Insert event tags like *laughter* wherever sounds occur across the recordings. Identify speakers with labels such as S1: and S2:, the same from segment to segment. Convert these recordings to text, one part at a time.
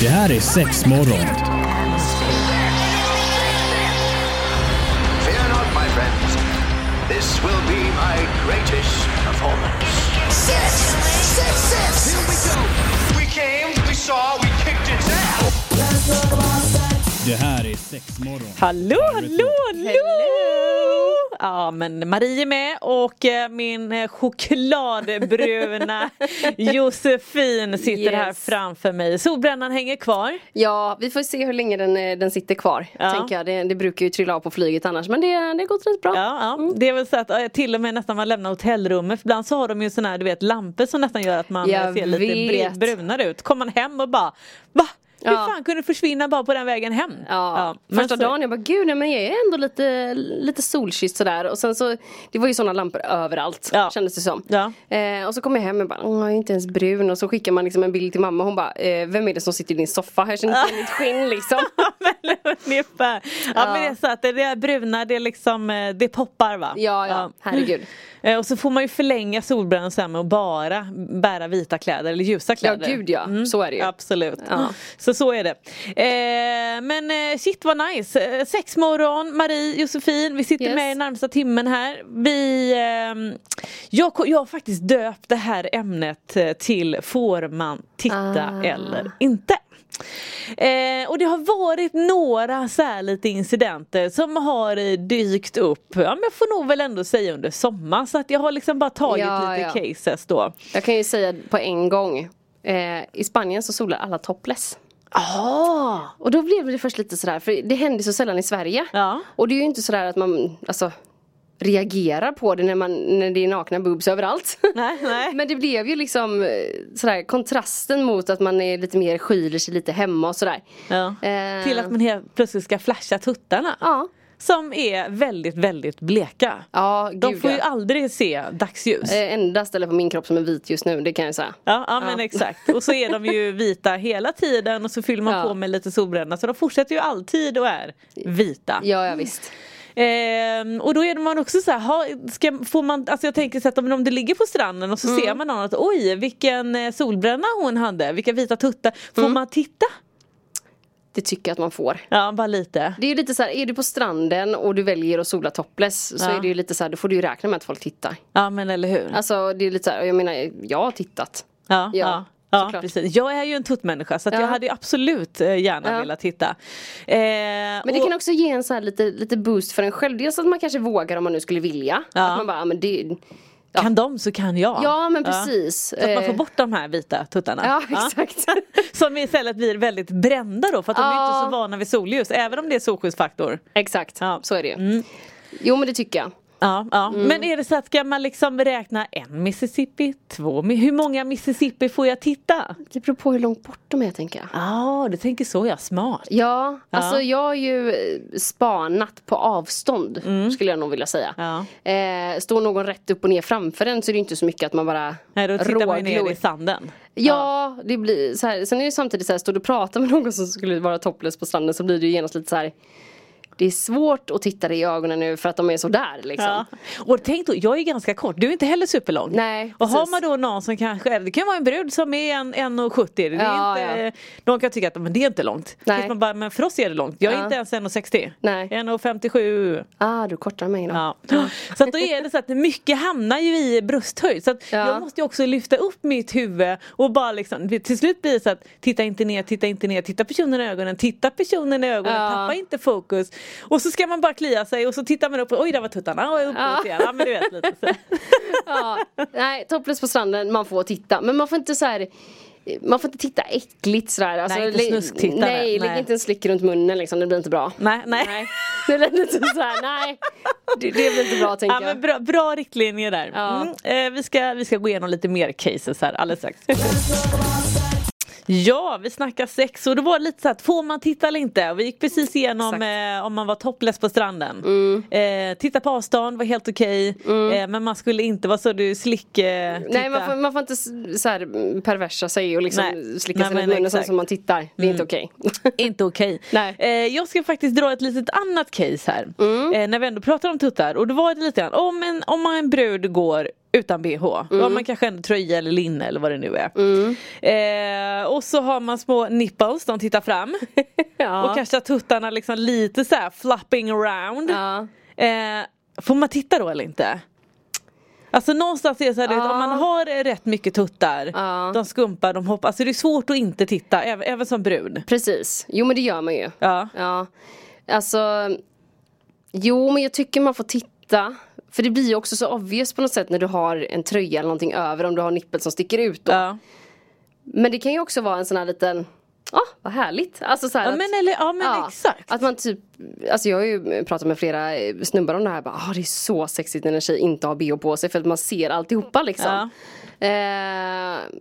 S1: Det här är sex morgon.
S2: Fear not, my friends. This will be my greatest performance.
S3: Six, six, six. Here we go.
S2: We came, we saw, we kicked its ass.
S1: Det här är sex morgon.
S4: Hallå, hallå, hallå! Ja, men Marie är med och eh, min eh,
S5: *laughs*
S4: chokladbruna Josefin sitter
S5: Yes.
S4: här framför mig. Solbrännan hänger kvar.
S5: Ja, vi får se hur länge den, eh, den sitter kvar.
S4: Ja.
S5: Tänker jag. Det, det brukar ju trilla av på flyget annars men det, det har gått rätt bra.
S4: Ja, ja. Det är väl så att eh, till och med nästan man lämnar hotellrummet. för Ibland så har de ju såna här du vet, lampor som nästan gör att man eh,
S5: Jag
S4: ser lite
S5: vet.
S4: br- brunare ut. Kommer man hem och bara va? Hur
S5: Ja.
S4: fan kunde det försvinna bara på den vägen hem?
S5: Ja.
S4: men
S5: Första
S4: så-
S5: dagen jag bara gud nej, men jag är ändå lite, lite solkysst sådär och sen så Det var ju sådana lampor överallt
S4: Ja.
S5: kändes det som.
S4: Ja.
S5: Eh, och så kom jag hem och bara "Åh, jag är inte ens brun och så skickar man liksom en bild till mamma och hon bara eh, Vem är det som sitter i din soffa? Jag känner inte igen ditt *laughs* skinn liksom.
S4: *laughs* Ja, men ungefär. Ja,
S5: Ja.
S4: men det är så att det där bruna det, är liksom, eh, det poppar va?
S5: Ja, ja, herregud.
S4: *clears throat* Eh, Och så får man ju förlänga solbrännan sen med att bara bära vita kläder eller ljusa kläder. Mm.
S5: gud, ja. Så är det ju.
S4: Absolut.
S5: Ja.
S4: *clears throat* Så så är det. Eh, men eh, shit vad nice. Eh, Sex morgon, Marie, Josefin, vi sitter
S5: Yes.
S4: med i närmsta timmen här. Vi, ehm, jag, ko- jag har faktiskt döpt det här ämnet eh, till Får man titta
S5: Ah.
S4: eller inte? Eh, och det har varit några så här lite incidenter som har eh, dykt upp, ja men jag får nog väl ändå säga under sommaren så att jag har liksom bara tagit
S5: Ja,
S4: lite
S5: ja.
S4: cases då.
S5: Jag kan ju säga på en gång eh, I Spanien så solar alla topless.
S4: Ah.
S5: Och då blev det först lite sådär, för det händer så sällan i Sverige.
S4: Ja.
S5: Och det är ju inte sådär att man alltså, reagerar på det när, man, när det är nakna boobs överallt.
S4: Nej, nej.
S5: *laughs* Men det blev ju liksom eh, sådär kontrasten mot att man är lite mer skyler sig lite hemma och sådär.
S4: Ja.
S5: Eh.
S4: Till att man helt plötsligt ska flasha tuttarna.
S5: Ja,
S4: Som är väldigt, väldigt bleka.
S5: ja
S4: De
S5: gud
S4: får ju
S5: ja.
S4: aldrig se dagsljus.
S5: Eh, Enda stället på min kropp som är vit just nu, det kan jag säga.
S4: Ja, ja men
S5: Ja.
S4: exakt. Och så är de
S5: *laughs*
S4: ju vita hela tiden och så fyller man
S5: Ja.
S4: på med lite solbränna. Så de fortsätter ju alltid och är vita.
S5: Ja, ja visst.
S4: Ehm, och då är man också så här, ha, ska, får man, alltså jag tänker så att om, om du ligger på stranden och så
S5: Mm.
S4: ser man någon att oj vilken eh, solbränna hon hade, vilka vita tuttar. Får
S5: Mm.
S4: man titta?
S5: Det tycker jag att man får.
S4: Ja, bara lite.
S5: Det är ju lite såhär, är du på stranden och du väljer att sola topless
S4: Ja.
S5: så
S4: Mm.
S5: är det ju lite såhär, då får du ju räkna med att folk tittar.
S4: Ja men eller hur.
S5: Alltså det är lite såhär, jag menar, jag har tittat.
S4: Ja,
S5: Ja,
S4: ja. Ja,
S5: såklart.
S4: precis. Jag är ju en tuttmänniska så att jag
S5: Ja.
S4: hade ju absolut eh, gärna
S5: Ja.
S4: velat titta. Eh,
S5: Men det kan också ge en så här lite, lite boost för en själv. Dels att man kanske vågar om man nu skulle vilja.
S4: Ja.
S5: Att man bara, ja, men det...
S4: och, kan de så kan jag.
S5: Ja men precis.
S4: Så att man får
S5: Eh,
S4: bort de här vita tuttarna.
S5: Ja exakt.
S4: *laughs* Som istället blir väldigt brända då för att de är
S5: Ja.
S4: inte så vana vid solljus även om det är solskyddsfaktor.
S5: exakt,
S4: Ja. Mm.
S5: så är det ju. Jo men det tycker jag.
S4: Ja, ja. Men är det så att ska man liksom räkna en Mississippi, två, mi- hur många Mississippi får jag titta?
S5: Det beror på hur långt bort de är tänker jag.
S4: Ja, du tänker så ja, smart.
S5: Ja,
S4: Ja.
S5: alltså jag har ju eh, spanat på avstånd skulle jag nog vilja säga.
S4: Mm. Ja.
S5: Eh, står någon rätt upp och ner framför en så är det inte så mycket att man bara
S4: Nej, då tittar man ju ner
S5: råglor.
S4: i sanden.
S5: Ja, det blir så här. Sen är det samtidigt så här, står du och pratar med någon som skulle vara topless på stranden så blir det ju genast lite så här. Det är svårt att titta dig i ögonen nu för att de är så där liksom.
S4: Ja. Och tänk då, jag är ganska kort, du är inte heller superlång.
S5: Nej,
S4: och har
S5: precis.
S4: man då någon som kanske, det kan vara en brud som är en- 1,70. Det är
S5: Ja,
S4: inte,
S5: ja.
S4: De kan tycka att men det är inte långt.
S5: Nej.
S4: Tills Man bara, men för oss är det långt, jag är
S5: Ja.
S4: inte ens 1,60.
S5: Nej.
S4: 1,57.
S5: Ah, du kortar mig då.
S4: Ja. Så att då är det så att mycket hamnar ju i brösthöjd. Så att
S5: Ja.
S4: jag måste ju också lyfta upp mitt huvud och bara liksom, till slut blir det så att titta inte ner, titta inte ner, titta personen i ögonen, titta personen i ögonen,
S5: Ja.
S4: tappa inte fokus. Och så ska man bara klia sig och så tittar man upp, oj där var tuttarna, och uppåt
S5: Ja.
S4: igen. Ja, men du vet, lite så.
S5: *laughs* Ja. Nej, topless på stranden, man får titta. Men man får inte så här. Man får inte titta äckligt sådär. Alltså,
S4: inte
S5: lä-
S4: snusktittare.
S5: Nej, lägg
S4: Nej.
S5: inte en slick runt munnen liksom, det blir inte bra.
S4: Nej, nej.
S5: Det lät lite såhär, nej. Det, det blir inte bra tänker
S4: Ja, men
S5: jag.
S4: bra, bra riktlinjer där.
S5: Ja.
S4: Mm, eh, vi, ska, vi ska gå igenom lite mer cases här alldeles strax. Ja, vi snackar sex och det var lite så att får man titta eller inte? Och Vi gick precis igenom eh, om man var topless på stranden.
S5: Mm.
S4: Eh, titta på avstånd var helt okej. Eh, men man skulle inte, vad sa du, slick... Eh, titta.
S5: Nej man får, man får inte s- så här mm, perversa sig och liksom
S4: Nej.
S5: slicka
S4: Nej,
S5: sig runt
S4: men
S5: munnen
S4: exakt. Mm.
S5: så som man tittar. Det är
S4: *laughs*
S5: inte okej.
S4: Inte okej.
S5: Nej. Mm.
S4: Eh, jag ska faktiskt dra ett litet annat case här. Eh, när vi ändå pratar om tuttar. Och då var det lite grann, om en, om en brud går utan bh. Då
S5: Mm.
S4: har man kanske en tröja eller linne eller vad det nu är. Eh, och så har man små nipples, de tittar fram.
S5: *laughs* Ja.
S4: Och kanske att tuttarna liksom lite så här flapping around.
S5: Ja.
S4: Eh, får man titta då eller inte? Alltså någonstans är det så här, du vet, om man har rätt mycket tuttar,
S5: Ja.
S4: de skumpar, de hoppar, alltså det är svårt att inte titta, även, även som brud.
S5: Precis, jo men det gör man ju.
S4: Ja.
S5: Ja. Alltså, jo men jag tycker man får titta. För det blir ju också så obvious på något sätt när du har en tröja eller någonting över om du har nippel som sticker ut då.
S4: Ja.
S5: Men det kan ju också vara en sån här liten, ja ah, vad härligt. Alltså så här
S4: Ja,
S5: att-
S4: men, eller, ja, men
S5: Ja,
S4: exakt.
S5: Att man typ, alltså jag har ju pratat med flera eh, snubbar om det här. Bara, ah, det är så sexigt när en tjej inte har bh på sig för att man ser alltihopa liksom. Eh,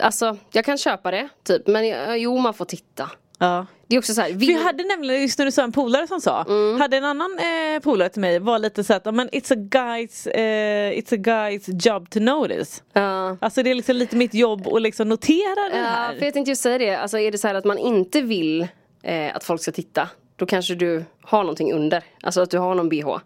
S5: alltså jag kan köpa det typ. Men eh, jo man får titta.
S4: ja.
S5: Det är också så här, vi,
S4: För jag hade nämligen, just när du sa en polare som sa, hade en annan eh, polare till mig var lite såhär, men it's a guys, eh, it's a guys job to notice.
S5: Ja.
S4: Alltså det är liksom lite mitt jobb att liksom notera det
S5: Ja,
S4: här.
S5: för jag tänkte ju säga det. Alltså är det så här att man inte vill eh, att folk ska titta. Då kanske du har någonting under. Alltså att du har någon bh.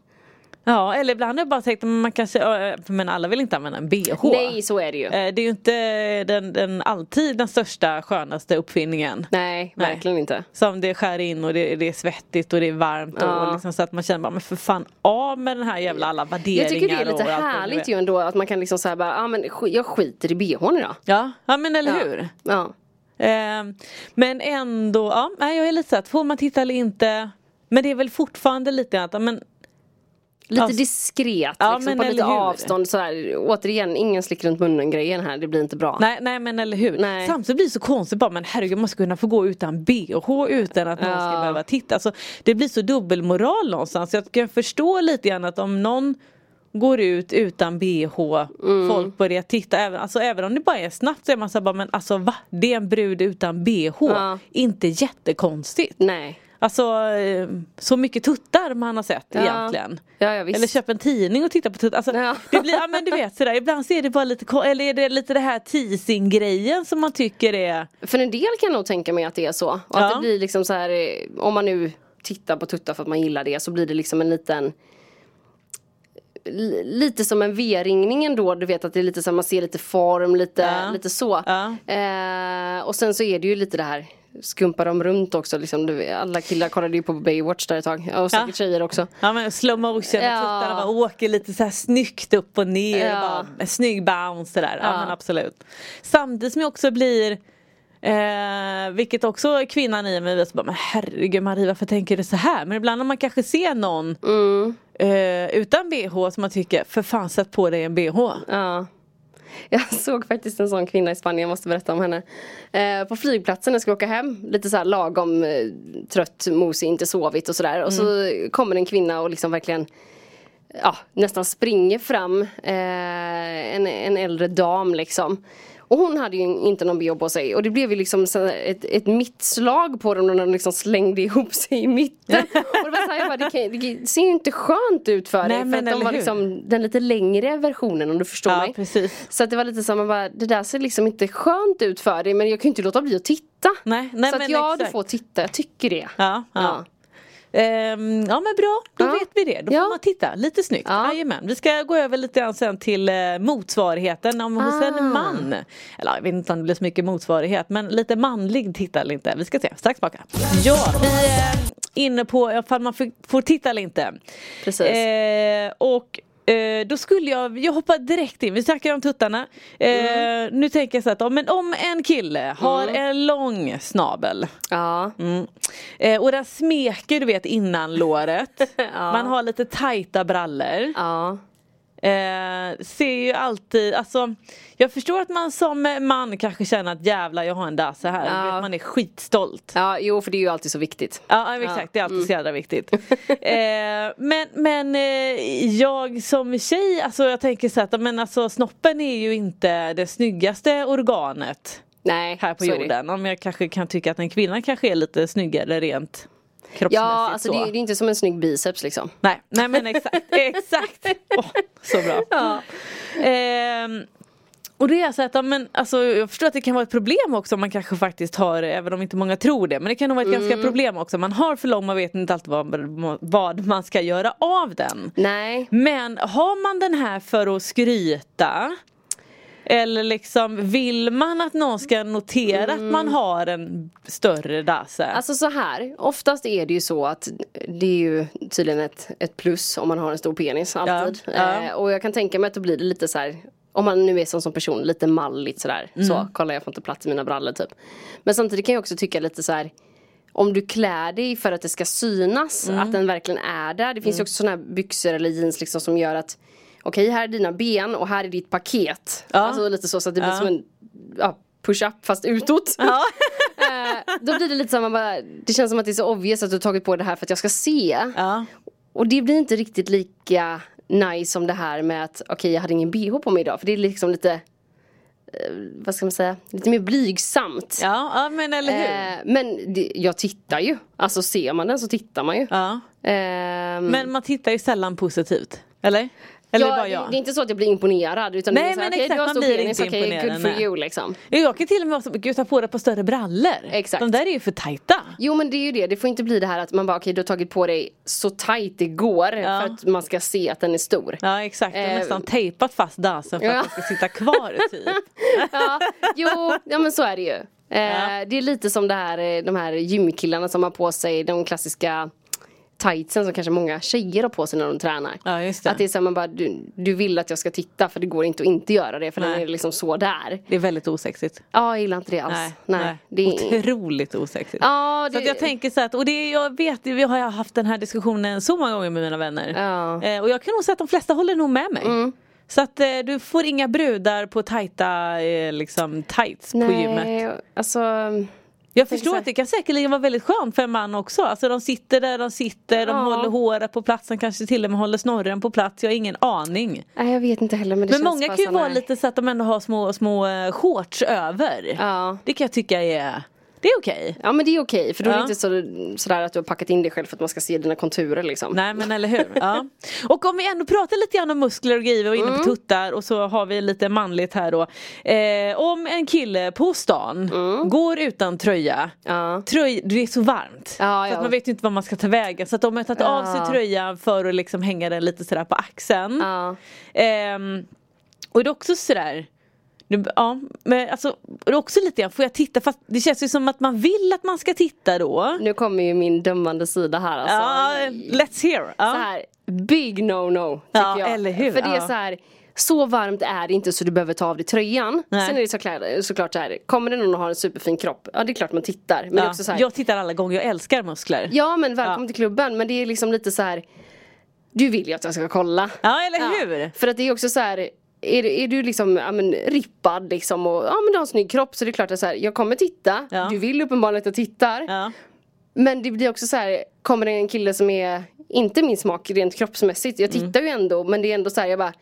S4: Ja, eller ibland har jag bara tänkt, men man kanske, eh, men alla vill inte använda en bh.
S5: Nej så är det ju.
S4: Eh, Det är ju inte den, den alltid den största skönaste uppfinningen.
S5: nej,
S4: nej.
S5: verkligen inte.
S4: Som det skär in och det, det är svettigt och det är varmt och,
S5: Ja.
S4: och liksom så att man känner bara men för fan av med den här jävla alla värderingar
S5: Jag tycker det är lite
S4: och allt vad det nu är.
S5: härligt ju ändå att man kan liksom säga bara, ah, men sk- jag skiter i bhn idag.
S4: Ja, ja men eller
S5: Ja.
S4: hur.
S5: Ja.
S4: Ehm, men ändå, ja nej, jag är lite såhär, får man titta eller inte? Men det är väl fortfarande lite att, ja, men
S5: Lite
S4: Alltså-
S5: diskret,
S4: Ja,
S5: liksom,
S4: men
S5: på lite
S4: eller hur?
S5: avstånd sådär. Återigen, ingen slick runt munnen grejen här, det blir inte bra.
S4: nej, nej men eller hur.
S5: Nej.
S4: Samtidigt blir det så konstigt bara, men herregud man ska kunna få gå utan bh utan att någon ska
S5: Ja.
S4: behöva titta. Alltså, det blir så dubbelmoral någonstans. Jag kan förstå lite grann att om någon går ut utan bh,
S5: Mm.
S4: folk börjar titta. Även, alltså, även om det bara är snabbt så är man så här bara, men alltså va? Det är en brud utan bh.
S5: Ja.
S4: Inte jättekonstigt.
S5: Nej.
S4: Alltså eh, så mycket tuttar man har sett
S5: Ja.
S4: egentligen.
S5: Ja, ja, visst.
S4: Eller köp en tidning och titta på tuttar. Alltså,
S5: Ja.
S4: det blir, ja, men du vet sådär, ibland så är det bara lite, ko- eller är det lite det här teasing-grejen som man tycker är,
S5: För en del kan jag nog tänka mig att det är så. Och att
S4: Ja.
S5: det blir liksom så här, eh, om man nu tittar på tuttar för att man gillar det så blir det liksom en liten li- Lite som en V-ringning ändå, du vet att det är lite så här, man ser lite form, lite,
S4: Ja.
S5: lite så.
S4: Ja.
S5: Eh, och sen så är det ju lite det här Skumpar de runt också liksom, du, vet, alla killar kollade ju på Baywatch där ett tag. Och säkert
S4: Ja.
S5: tjejer också.
S4: ja men slow motion,
S5: Ja.
S4: ja. tuttarna bara åker lite så här snyggt upp och ner,
S5: Ja.
S4: bara, en snygg bounce sådär. Ja.
S5: Ja.
S4: men absolut. Samtidigt som jag också blir Eh, vilket också kvinnan i mig vet, bara, men herregud Marie varför tänker du så här? Men ibland när man kanske ser någon
S5: Mm.
S4: eh, utan bh som man tycker, för fan sätt på dig en bh.
S5: Ja. Jag *laughs* såg faktiskt en sån kvinna i Spanien, jag måste berätta om henne. Eh, på flygplatsen när jag skulle åka hem, lite så här lagom eh, trött, mosig, inte sovit och sådär. Och så
S4: Mm.
S5: kommer en kvinna och liksom verkligen ja, nästan springer fram. Eh, en, en äldre dam liksom. Och hon hade ju inte någon bh på sig och det blev ju liksom så här ett, ett mittslag på dem när de liksom slängde ihop sig
S4: *laughs*
S5: i mitten. och det, var så här, jag bara, det, kan, det ser ju inte skönt ut för
S4: Nej,
S5: dig. För
S4: men
S5: att de
S4: eller
S5: var
S4: hur?
S5: liksom den lite längre versionen om du förstår
S4: Ja,
S5: mig.
S4: precis.
S5: Så att det var lite så här, man bara, det där ser liksom inte skönt ut för dig men jag kan ju inte låta bli att titta.
S4: Nej, nej,
S5: så att
S4: men
S5: ja,
S4: exakt.
S5: du får titta, jag tycker det.
S4: Ja, ja.
S5: Ja.
S4: Ehm, ja men bra, då
S5: Ja.
S4: vet vi det. Då
S5: Ja.
S4: får man titta lite snyggt.
S5: Ja.
S4: Jajamän. Vi ska gå över lite grann sen till eh, motsvarigheten om hos
S5: Ah.
S4: en man. Eller jag vet inte om det blir så mycket motsvarighet men lite manlig titta eller inte. Vi ska se, strax tillbaka. Ja, vi är inne på ifall man får- får titta eller inte.
S5: Precis.
S4: Eh, och eh, då skulle jag, jag hoppar direkt in, vi snackar om tuttarna. Eh,
S5: Mm.
S4: Nu tänker jag så här att om, men om en kille har en lång snabel
S5: Ja.
S4: Mm. Eh, och den smeker du vet innan låret.
S5: *laughs* Ja.
S4: Man har lite tajta brallor.
S5: Ja.
S4: Eh, ser ju alltid, alltså jag förstår att man som man kanske känner att jävlar jag har en där så här.
S5: Ja.
S4: Du Vet, man är skitstolt.
S5: ja, jo för det är ju alltid så viktigt.
S4: Ja, ja exakt, det är alltid så jävla viktigt.
S5: Mm. *laughs*
S4: eh, men men eh, jag som tjej, alltså jag tänker så här att men alltså, snoppen är ju inte det snyggaste organet
S5: Nej,
S4: här på
S5: så är det.
S4: jorden. Om jag kanske kan tycka att en kvinna kanske är lite snyggare rent kroppsmässigt.
S5: Ja, alltså
S4: så.
S5: det, är- det är inte som en snygg biceps liksom.
S4: Nej, nej
S5: *laughs*
S4: men exakt. exakt. Åh, så bra.
S5: Ja.
S4: Ehm, Och det är så att, ja, men, alltså, jag förstår att det kan vara ett problem också om man kanske faktiskt har, även om inte många tror det, men det kan nog vara ett
S5: Mm.
S4: ganska problem också. Man har för lång, man vet inte alltid vad, vad man ska göra av den.
S5: Nej.
S4: Men har man den här för att skryta eller liksom vill man att någon ska notera att man har en större dasse?
S5: Mm. Alltså så här, oftast är det ju så att det är ju tydligen ett, ett plus om man har en stor penis alltid.
S4: Ja, ja.
S5: Eh, och jag kan tänka mig att då blir det lite så här om man nu är som, som person lite malligt sådär.
S4: Mm.
S5: Så, kolla jag får inte plats i mina brallor typ. Men samtidigt kan jag också tycka lite så här om du klär dig för att det ska synas
S4: Mm.
S5: att den verkligen är där. Det finns ju också sådana här byxor eller jeans liksom som gör att okej här är dina ben och här är ditt paket.
S4: Ja.
S5: Alltså lite så så att det blir
S4: Ja.
S5: som en ja, push-up fast utåt.
S4: *laughs*
S5: *laughs*
S4: Ja.
S5: Eh, då blir det lite så här, man bara, det känns som att det är så obvious att du har tagit på det här för att jag ska se.
S4: Ja.
S5: Och det blir inte riktigt lika nice som det här med att okej jag hade ingen bh på mig idag för det är liksom lite eh, vad ska man säga, lite mer blygsamt.
S4: Ja, ja, men eller hur?
S5: Eh, men det, jag tittar ju, alltså ser man den så tittar man ju.
S4: ja.
S5: Ehm,
S4: Men man tittar ju sällan positivt, eller? Eller är det bara
S5: ja, det,
S4: jag?
S5: det är inte så att jag blir imponerad utan
S4: Nej,
S5: det är så här,
S4: men
S5: okej,
S4: exakt,
S5: du har
S4: man
S5: stor
S4: blir
S5: penis,
S4: inte
S5: okej good
S4: imponerad,
S5: for
S4: nej.
S5: you liksom.
S4: Ja, Jag kan till och med vara så, gud ta på dig på större brallor.
S5: Exakt.
S4: De där är ju för tajta.
S5: Jo men det är ju det, det får inte bli det här att man bara okej du har tagit på dig så tight det går
S4: Ja.
S5: för att man ska se att den är stor.
S4: Ja exakt, de har
S5: Eh,
S4: nästan tejpat fast dasen för
S5: ja.
S4: att den ska sitta kvar
S5: *laughs*
S4: typ.
S5: Ja, jo, ja men så är det ju. Eh,
S4: Ja.
S5: Det är lite som det här, eh, de här gymkillarna som har på sig de klassiska tightsen som kanske många tjejer har på sig när de tränar.
S4: Ja, just det.
S5: Att det är så här, man bara, du, du vill att jag ska titta för det går inte att inte göra det för den
S4: Nej.
S5: är liksom så där.
S4: Det är väldigt osexigt.
S5: Ja, jag gillar inte det alls. Nej, Det är,
S4: Otroligt osexigt.
S5: ja,
S4: Så
S5: det,
S4: att jag tänker så här att, och det, jag vet, vi har ju haft den här diskussionen så många gånger med mina vänner.
S5: Ja. Mm.
S4: Eh, och jag kan nog säga att de flesta håller nog med mig. Så att eh, du får inga brudar på tajta eh, liksom, tights på gymmet.
S5: Nej, alltså,
S4: Jag
S5: så
S4: förstår
S5: här.
S4: att det kan säkerligen vara väldigt skönt för en man också. Alltså de sitter där de sitter, de
S5: Ja.
S4: håller håret på plats, de kanske till och med håller snorren på plats. Jag har ingen aning.
S5: nej, jag vet inte heller men
S4: Men
S5: det känns
S4: många
S5: bara
S4: kan ju
S5: så,
S4: vara
S5: nej.
S4: lite så att de ändå har små, små eh, shorts över.
S5: Ja.
S4: Det kan jag tycka är, det är okej.
S5: Ja men det är okej för då är
S4: Ja.
S5: det inte så, sådär att du har packat in dig själv för att man ska se dina konturer liksom.
S4: Nej men eller hur. Ja. Och om vi ändå pratar lite grann om muskler och grejer, vi var inne
S5: Mm.
S4: på tuttar och så har vi lite manligt här då. Eh, om en kille på stan går utan tröja,
S5: *laughs* Mm. Ja.
S4: Tröj, det är så varmt
S5: Ja,
S4: så
S5: ja.
S4: att man vet ju inte vad man ska ta vägen så att de har tagit av
S5: Ja.
S4: sig tröjan för att liksom hänga den lite sådär på axeln.
S5: Ja.
S4: Ehm, och det är också sådär nu, ja, men alltså, och det är också lite grann, får jag titta? Fast det känns ju som att man vill att man ska titta då.
S5: Nu kommer ju min dömande sida här alltså.
S4: Ja, let's hear! Ja.
S5: Så här, big no no tycker
S4: Ja,
S5: jag.
S4: eller hur?
S5: För det är
S4: Ja.
S5: så här så varmt är det inte så du behöver ta av dig tröjan.
S4: Nej.
S5: Sen är det såklart, såklart så här, kommer det någon och har en superfin kropp, ja det är klart man tittar. Men det är
S4: Ja.
S5: också så här,
S4: Jag tittar alla gånger, jag älskar muskler.
S5: ja men välkommen
S4: Ja.
S5: till klubben men det är liksom lite så här, du vill ju att jag ska kolla.
S4: Ja, eller hur?
S5: För att det är också så här, är, du- är du liksom ja, men, rippad liksom och ja, men du har en snygg kropp så det är klart att så här, jag kommer titta,
S4: Ja.
S5: du vill uppenbarligen att jag tittar.
S4: Ja.
S5: Men det blir också så här, kommer det en kille som är inte min smak rent kroppsmässigt. Jag
S4: Mm.
S5: tittar ju ändå men det är ändå så här, jag bara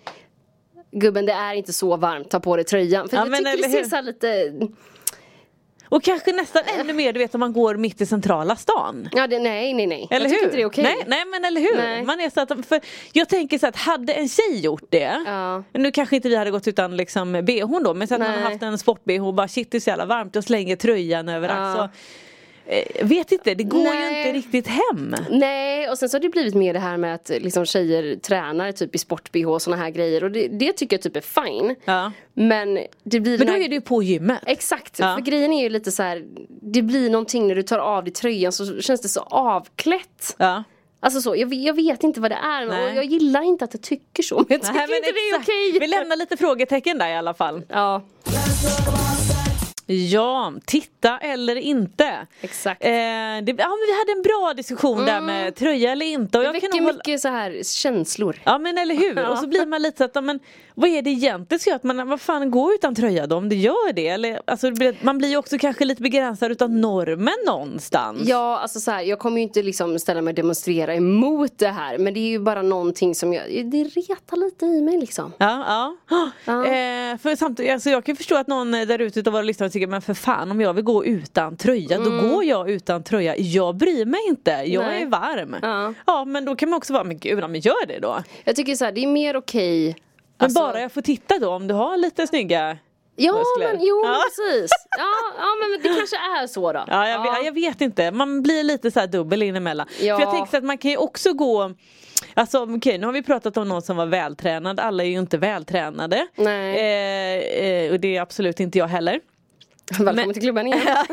S5: Gubben det är inte så varmt, ta på dig tröjan. För
S4: Ja,
S5: jag
S4: men
S5: tycker det
S4: eller
S5: ser
S4: hur?
S5: så här lite
S4: Och kanske nästan ännu mer du vet om man går mitt i centrala stan.
S5: Ja det, nej nej nej.
S4: Eller
S5: jag tycker
S4: hur?
S5: inte det är okej.
S4: nej, nej men eller hur?
S5: Nej.
S4: Man är så att, för jag tänker så att hade en tjej gjort det
S5: Ja.
S4: Nu kanske inte vi hade gått utan liksom bhn då men sen att man
S5: Nej.
S4: har haft en sport-bh och bara shit det är så jävla varmt och slänger tröjan överallt så eh, Vet inte, det går ju
S5: Nej.
S4: inte riktigt hem.
S5: Nej och sen så har det blivit mer det här med att liksom, tjejer tränar typ i sport-bh och såna här grejer och det, det tycker jag typ är fine.
S4: Ja.
S5: Men det
S4: Men
S5: blir den
S4: då
S5: här-
S4: är det ju på gymmet.
S5: Exakt,
S4: Ja.
S5: för grejen är ju lite så här Det blir någonting när du tar av dig tröjan så känns det så avklätt.
S4: Ja.
S5: Alltså så, jag, jag vet inte vad det är
S4: Nej.
S5: och jag gillar inte att jag tycker så men jag tycker
S4: Nej, men
S5: inte det är
S4: exakt.
S5: okej.
S4: Vi lämnar lite frågetecken där i alla fall.
S5: Ja,
S4: Ja, titta eller inte.
S5: exakt.
S4: Eh, det, ja, men vi hade en bra diskussion där med tröja eller inte. Och
S5: det
S4: jag kan
S5: väcker
S4: nog hålla,
S5: mycket så här känslor.
S4: Ja men eller hur, och så blir man lite så att, ja, men, vad är det egentligen som gör att man, vad fan gå utan tröja då om det gör det? Eller, alltså, det blir- man blir ju också kanske lite begränsad utav normen någonstans.
S5: Ja, alltså så här, jag kommer ju inte liksom ställa mig och demonstrera emot det här men det är ju bara någonting som jag, det retar lite i mig liksom.
S4: Ja, ja.
S5: *gasps*
S4: Ah, Eh, för samtidigt, alltså jag kan ju förstå att någon eh, där ute utav våra lyssnare tycker men för fan om jag vill gå utan tröja då går jag utan tröja. Jag bryr mig inte, jag
S5: Mm. Nej.
S4: är varm.
S5: Ja.
S4: ja men då kan man också vara, men gud ja, men gör det då.
S5: Jag tycker så här, det är mer okej
S4: Men
S5: Alltså-
S4: bara jag får titta då om du har lite snygga
S5: Ja,
S4: Vad skulle jag-
S5: men jo,
S4: Ja.
S5: precis. Ja, ja, men det kanske är så då.
S4: Ja, jag, Vet, jag vet inte, man blir lite så här dubbel inemellan.
S5: Ja.
S4: För jag tänker så att man kan ju också gå Alltså okej, nu har vi pratat om någon som var vältränad, alla är ju inte vältränade.
S5: Nej.
S4: Eh, eh, och det är absolut inte jag heller.
S5: Välkommen
S4: men-
S5: till
S4: *laughs*
S5: klubben igen.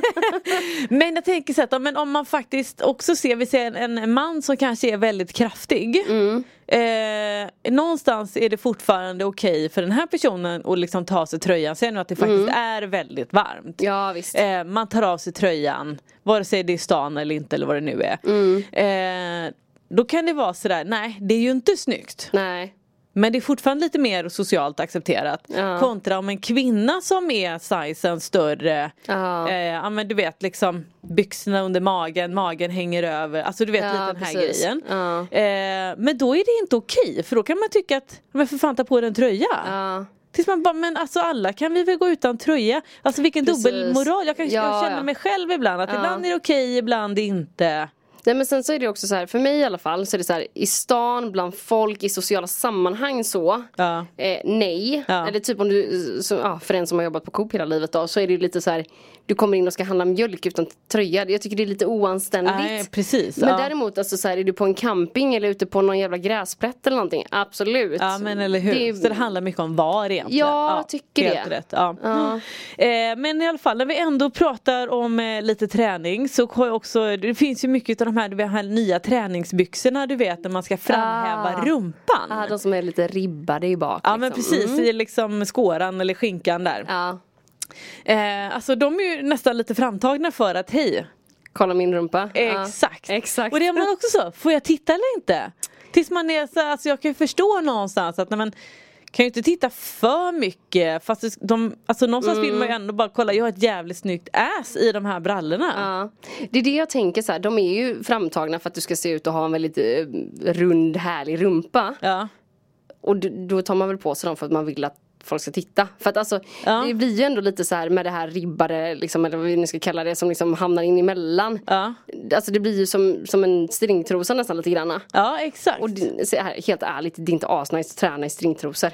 S4: Men jag tänker så att ja, men om man faktiskt också ser, vi ser en, en man som kanske är väldigt kraftig.
S5: Mm.
S4: Eh, någonstans är det fortfarande okej för den här personen att liksom ta av sig tröjan. Sen att det faktiskt
S5: Mm.
S4: är väldigt varmt.
S5: Ja, visst.
S4: Eh, man tar av sig tröjan, vare sig det är stan eller inte eller vad det nu är.
S5: Mm.
S4: Eh, då kan det vara sådär, nej det är ju inte snyggt.
S5: Nej.
S4: Men det är fortfarande lite mer socialt accepterat.
S5: Ja.
S4: Kontra om en kvinna som är sizen större.
S5: Ja.
S4: Eh, ja men du vet liksom byxorna under magen, magen hänger över. Alltså du vet
S5: Ja,
S4: lite den här
S5: precis.
S4: grejen.
S5: Ja.
S4: Eh, men då är det inte okej för då kan man tycka att, men för fan ta på dig en tröja.
S5: Ja.
S4: Tills man bara, men alltså alla kan vi väl gå utan tröja? Alltså vilken
S5: Precis.
S4: dubbelmoral. Jag, kan,
S5: Ja,
S4: jag känner
S5: ja.
S4: mig själv ibland att ibland är det okej, ibland inte.
S5: Nej men sen så är det också så här, för mig i alla fall så är det så här i stan, bland folk, i sociala sammanhang så.
S4: Ja.
S5: Eh, nej.
S4: Ja.
S5: Eller typ om du, så, ja, för en som har jobbat på Coop hela livet då så är det ju lite så här du kommer in och ska handla mjölk utan tröja. Jag tycker det är lite oanständigt.
S4: Nej, precis.
S5: Men
S4: ja.
S5: däremot alltså så här, är du på en camping eller ute på någon jävla gräsplätt eller någonting. Absolut.
S4: Ja men eller hur.
S5: Det är-
S4: Så det handlar mycket om var egentligen.
S5: Ja, jag tycker
S4: helt
S5: det.
S4: Rätt. Ja.
S5: Ja.
S4: Eh, men i alla fall när vi ändå pratar om eh, lite träning så har jag också, det finns ju mycket av de här, de här nya träningsbyxorna du vet när man ska framhäva
S5: Ah.
S4: rumpan.
S5: Ah, de som är lite ribbade i bak.
S4: Ja men
S5: liksom.
S4: precis,
S5: Mm.
S4: i liksom skåran eller skinkan där.
S5: Ja.
S4: Eh, alltså de är ju nästan lite framtagna för att hej,
S5: Kolla min rumpa. Ja.
S4: Exakt.
S5: Exakt.
S4: Och det är man också så, får jag titta eller inte? Tills man är så, alltså jag kan ju förstå någonstans att nej, men kan ju inte titta för mycket fast det- de, alltså någonstans vill man ju
S5: Mm.
S4: ändå bara kolla, jag har ett jävligt snyggt ass i de här brallorna.
S5: Ja, det är det jag tänker så här. De är ju framtagna för att du ska se ut och ha en väldigt eh, rund härlig rumpa.
S4: Ja.
S5: Och d- då tar man väl på sig dem för att man vill att folk ska titta. För att alltså
S4: Ja.
S5: det blir ju ändå lite så här med det här ribbade liksom, eller vad vi nu ska kalla det som liksom hamnar in emellan.
S4: Ja.
S5: Alltså det blir ju som, som en stringtrosa nästan lite granna.
S4: Ja exakt.
S5: Och det, så här, helt ärligt, det är inte asnice att träna i stringtrosor.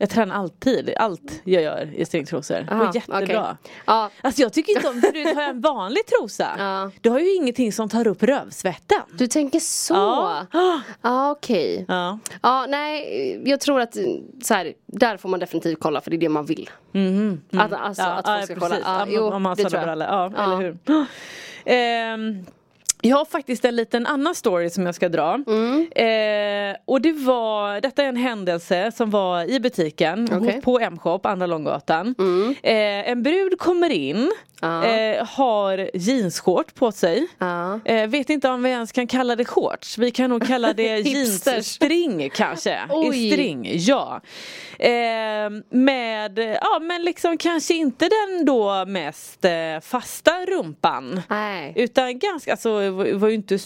S4: Jag tränar alltid, allt jag gör i stringtrosor. Det
S5: Aha,
S4: går jättebra.
S5: okej. Ja.
S4: Alltså jag tycker inte om, förut har jag en vanlig trosa,
S5: *laughs* Ja.
S4: då har jag ju ingenting som tar upp rövsvetten.
S5: Du tänker så?
S4: Ja.
S5: Ja, ah, okej.
S4: Ja.
S5: Ja, nej, jag tror att eh, så här, där får man definitivt kolla för det är det man vill. Att, alltså,
S4: Mm. Ja,
S5: att
S4: ja,
S5: folk
S4: precis.
S5: ska kolla. Ja,
S4: Ja,
S5: jo,
S4: om man
S5: det
S4: sådana
S5: tror jag.
S4: brallor. Ja, eller hur. *gasps* Ehm, jag har faktiskt en liten annan story som jag ska dra.
S5: Mm.
S4: Eh, och det var, detta är en händelse som var i butiken
S5: Okej. Mm.
S4: på M-shop, Andra Långgatan. Eh, en brud kommer in,
S5: Ja.
S4: eh, har jeansshort på sig.
S5: Ja.
S4: Eh, vet inte om vi ens kan kalla det shorts. Vi kan nog kalla det
S5: *laughs* Hipsters.
S4: jeansstring kanske.
S5: Oj.
S4: I string, ja. Eh, med, ja men liksom kanske inte den då mest eh, fasta rumpan.
S5: Nej.
S4: Utan ganska, alltså var var ju inte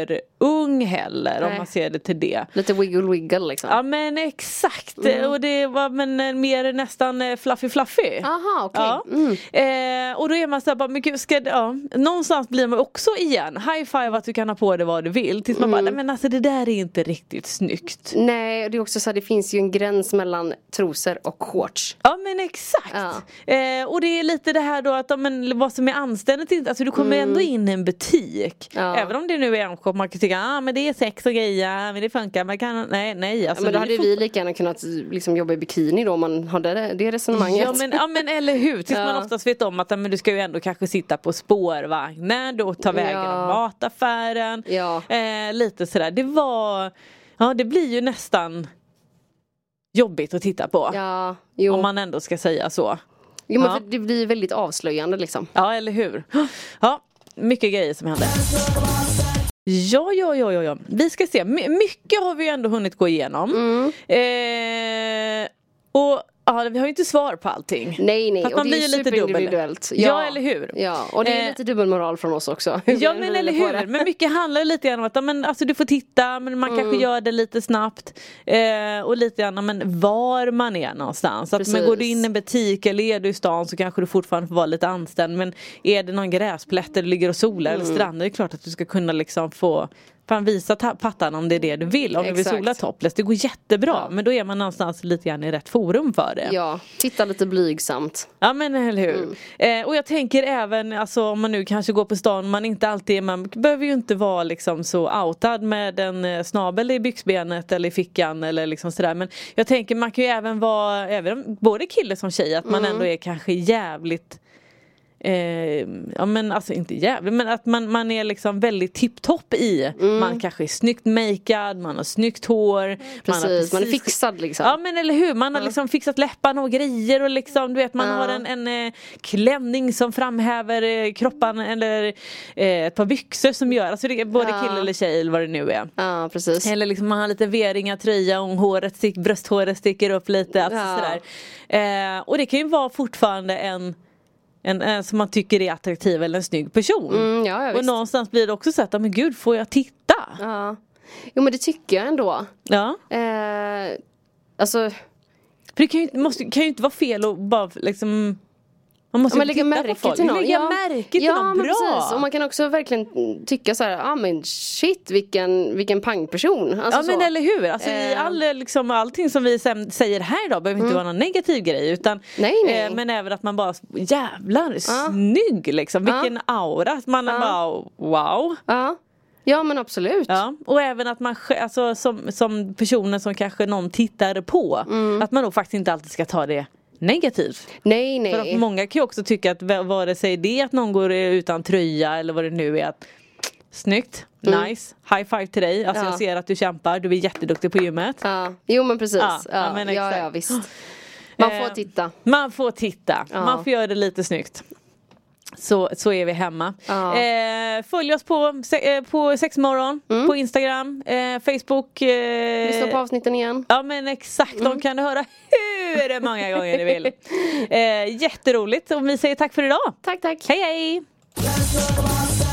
S4: superung heller om
S5: Nej.
S4: man ser det till det.
S5: Lite wiggle wiggle liksom.
S4: Ja men exakt
S5: Mm.
S4: och det var men, eh, mer nästan eh, fluffy fluffy.
S5: Aha, okej.
S4: Ja.
S5: Mm.
S4: Eh, och då är man såhär, bara, men gud, ska, det- ja. någonstans blir man också igen, high five att du kan ha på dig vad du vill
S5: Mm.
S4: tills man bara, nej men alltså det där är inte riktigt snyggt.
S5: Nej, det är också så här, det finns ju en gräns mellan trosor och shorts.
S4: Ja men exakt! Eh, och det är lite det här då att ja, men, vad som är anständigt, inte- alltså du kommer ändå in i en butik.
S5: Mm. Ja.
S4: Även om det nu är M-shop, man kan tycka ah, men det är sex och grejer, men det funkar, man kan, nej nej.
S5: Ja,
S4: Alltså,
S5: men
S4: det
S5: då
S4: är
S5: hade
S4: fort-
S5: vi lika gärna kunnat liksom, jobba i bikini då om man hade det, det resonemanget.
S4: Ja men, ja men eller hur, tills
S5: Ja.
S4: man oftast vet om att ja, men du ska ju ändå kanske sitta på spårvagnen och ta vägen
S5: Ja.
S4: om mataffären.
S5: Ja.
S4: Eh, lite sådär, det var, ja det blir ju nästan jobbigt att titta på.
S5: Ja, jo.
S4: Om man ändå ska säga så.
S5: jo men
S4: Ja.
S5: För det blir väldigt avslöjande liksom.
S4: Ja, eller hur? Ja, mycket grejer som hände. Ja, ja, ja, ja, ja. Vi ska se. My- mycket har vi ju ändå hunnit gå igenom.
S5: Mm.
S4: Eh, och ja, vi har ju inte svar på allting.
S5: Nej, nej.
S4: Fast
S5: och
S4: man
S5: det
S4: blir
S5: är
S4: ju
S5: ju
S4: lite dubbel.
S5: superindividuellt.
S4: Ja, eller hur?
S5: Ja, och det är
S4: Eh,
S5: lite dubbelmoral från oss också. *laughs*
S4: *laughs* Ja men eller hur, men mycket handlar ju lite grann om att ja, men, alltså, du får titta men man kanske
S5: Mm.
S4: gör det lite snabbt eh, och lite grann om, men, var man är någonstans. Att, men, går du in i en butik eller är du i stan så kanske du fortfarande får vara lite
S5: Mm.
S4: anställd men är det någon gräsplätt där du ligger och solar eller strandar det är klart att du ska kunna liksom få fan visa ta- pattan om det är det du vill. Om du vill
S5: Exakt.
S4: sola topless, det går jättebra. Men då är man någonstans lite grann i rätt forum för det.
S5: Ja, titta lite blygsamt.
S4: Ja men eller hur.
S5: Mm.
S4: Eh, och jag tänker även alltså, om man nu kanske går på stan, man inte alltid är, man behöver ju inte vara liksom så outad med en eh, snabel i byxbenet eller i fickan eller liksom sådär. Men jag tänker man kan ju även vara, även, om- både kille som tjej, att man
S5: Mm.
S4: ändå är kanske jävligt Eh, ja men alltså inte jävligt men att man, man är liksom väldigt tipptopp i
S5: Mm.
S4: Man kanske är snyggt makead, man har snyggt hår
S5: Precis, man, är
S4: precis-
S5: fixad liksom.
S4: Ja men eller hur, man har liksom fixat läpparna och grejer och liksom du vet man
S5: Ja.
S4: har en, en eh, klänning som framhäver eh, kroppen eller eh, ett par byxor som gör, alltså det är både
S5: Ja.
S4: kille eller tjej eller vad det nu är.
S5: Ja, precis.
S4: Eller liksom man har lite V-ringar tröja och håret stick, brösthåret sticker upp lite. Alltså
S5: Ja.
S4: sådär. Eh, och det kan ju vara fortfarande en, en, en som man tycker är attraktiv eller en snygg person.
S5: Mm, ja, ja,
S4: och
S5: visst.
S4: någonstans blir det också så att, "Ja, men gud får jag titta?
S5: Ja. Jo men det tycker jag ändå.
S4: Ja.
S5: Eh, alltså,
S4: Typ För det kan ju, inte- måste, kan ju inte vara fel att bara liksom man måste
S5: om man
S4: ju
S5: lägger
S4: titta på
S5: märke
S4: folk.
S5: till någon.
S4: Lägga märke till
S5: ja,
S4: någon
S5: men
S4: bra.
S5: Precis. Och man kan också verkligen tycka så här, ja ah, men shit vilken, vilken pangperson. Alltså,
S4: ja men
S5: så.
S4: eller hur, alltså, i
S5: Eh. Mm.
S4: all, liksom, allting som vi sen säger här idag behöver inte vara någon negativ grej utan eh,
S5: Nej, nej.
S4: men även att man bara jävlar snygg liksom, vilken aura, att man bara wow.
S5: Ja. ja men absolut.
S4: Ja. Och även att man sj- alltså, som, som personer som kanske någon tittar på
S5: Mm.
S4: att man nog faktiskt inte alltid ska ta det negativt.
S5: Nej
S4: För att
S5: nej.
S4: många kan ju också tycka att v- vare sig det är att någon går eh, utan tröja eller vad det nu är att Snyggt, nice, high five till dig. Alltså
S5: Mm. Ja.
S4: jag ser att du kämpar, du är jätteduktig på gymmet.
S5: Ja. Jo men precis.
S4: Ja,
S5: Ja,
S4: ja, men
S5: ja,
S4: exakt.
S5: ja visst. Man får
S4: Eh,
S5: titta.
S4: Man får titta,
S5: Ja.
S4: man får göra det lite snyggt. Så, så är vi hemma.
S5: Ja.
S4: Eh, följ oss på, se- eh, på sexmorgon, på Instagram, eh, Facebook. Eh,
S5: Mm. Lyssna på Mm. avsnitten igen.
S4: Ja men exakt, de kan du höra hur många gånger ni
S5: *laughs*
S4: vill. Eh, jätteroligt och vi säger tack för idag.
S5: Tack tack.
S4: Hej hej!
S3: Let's talk about sex.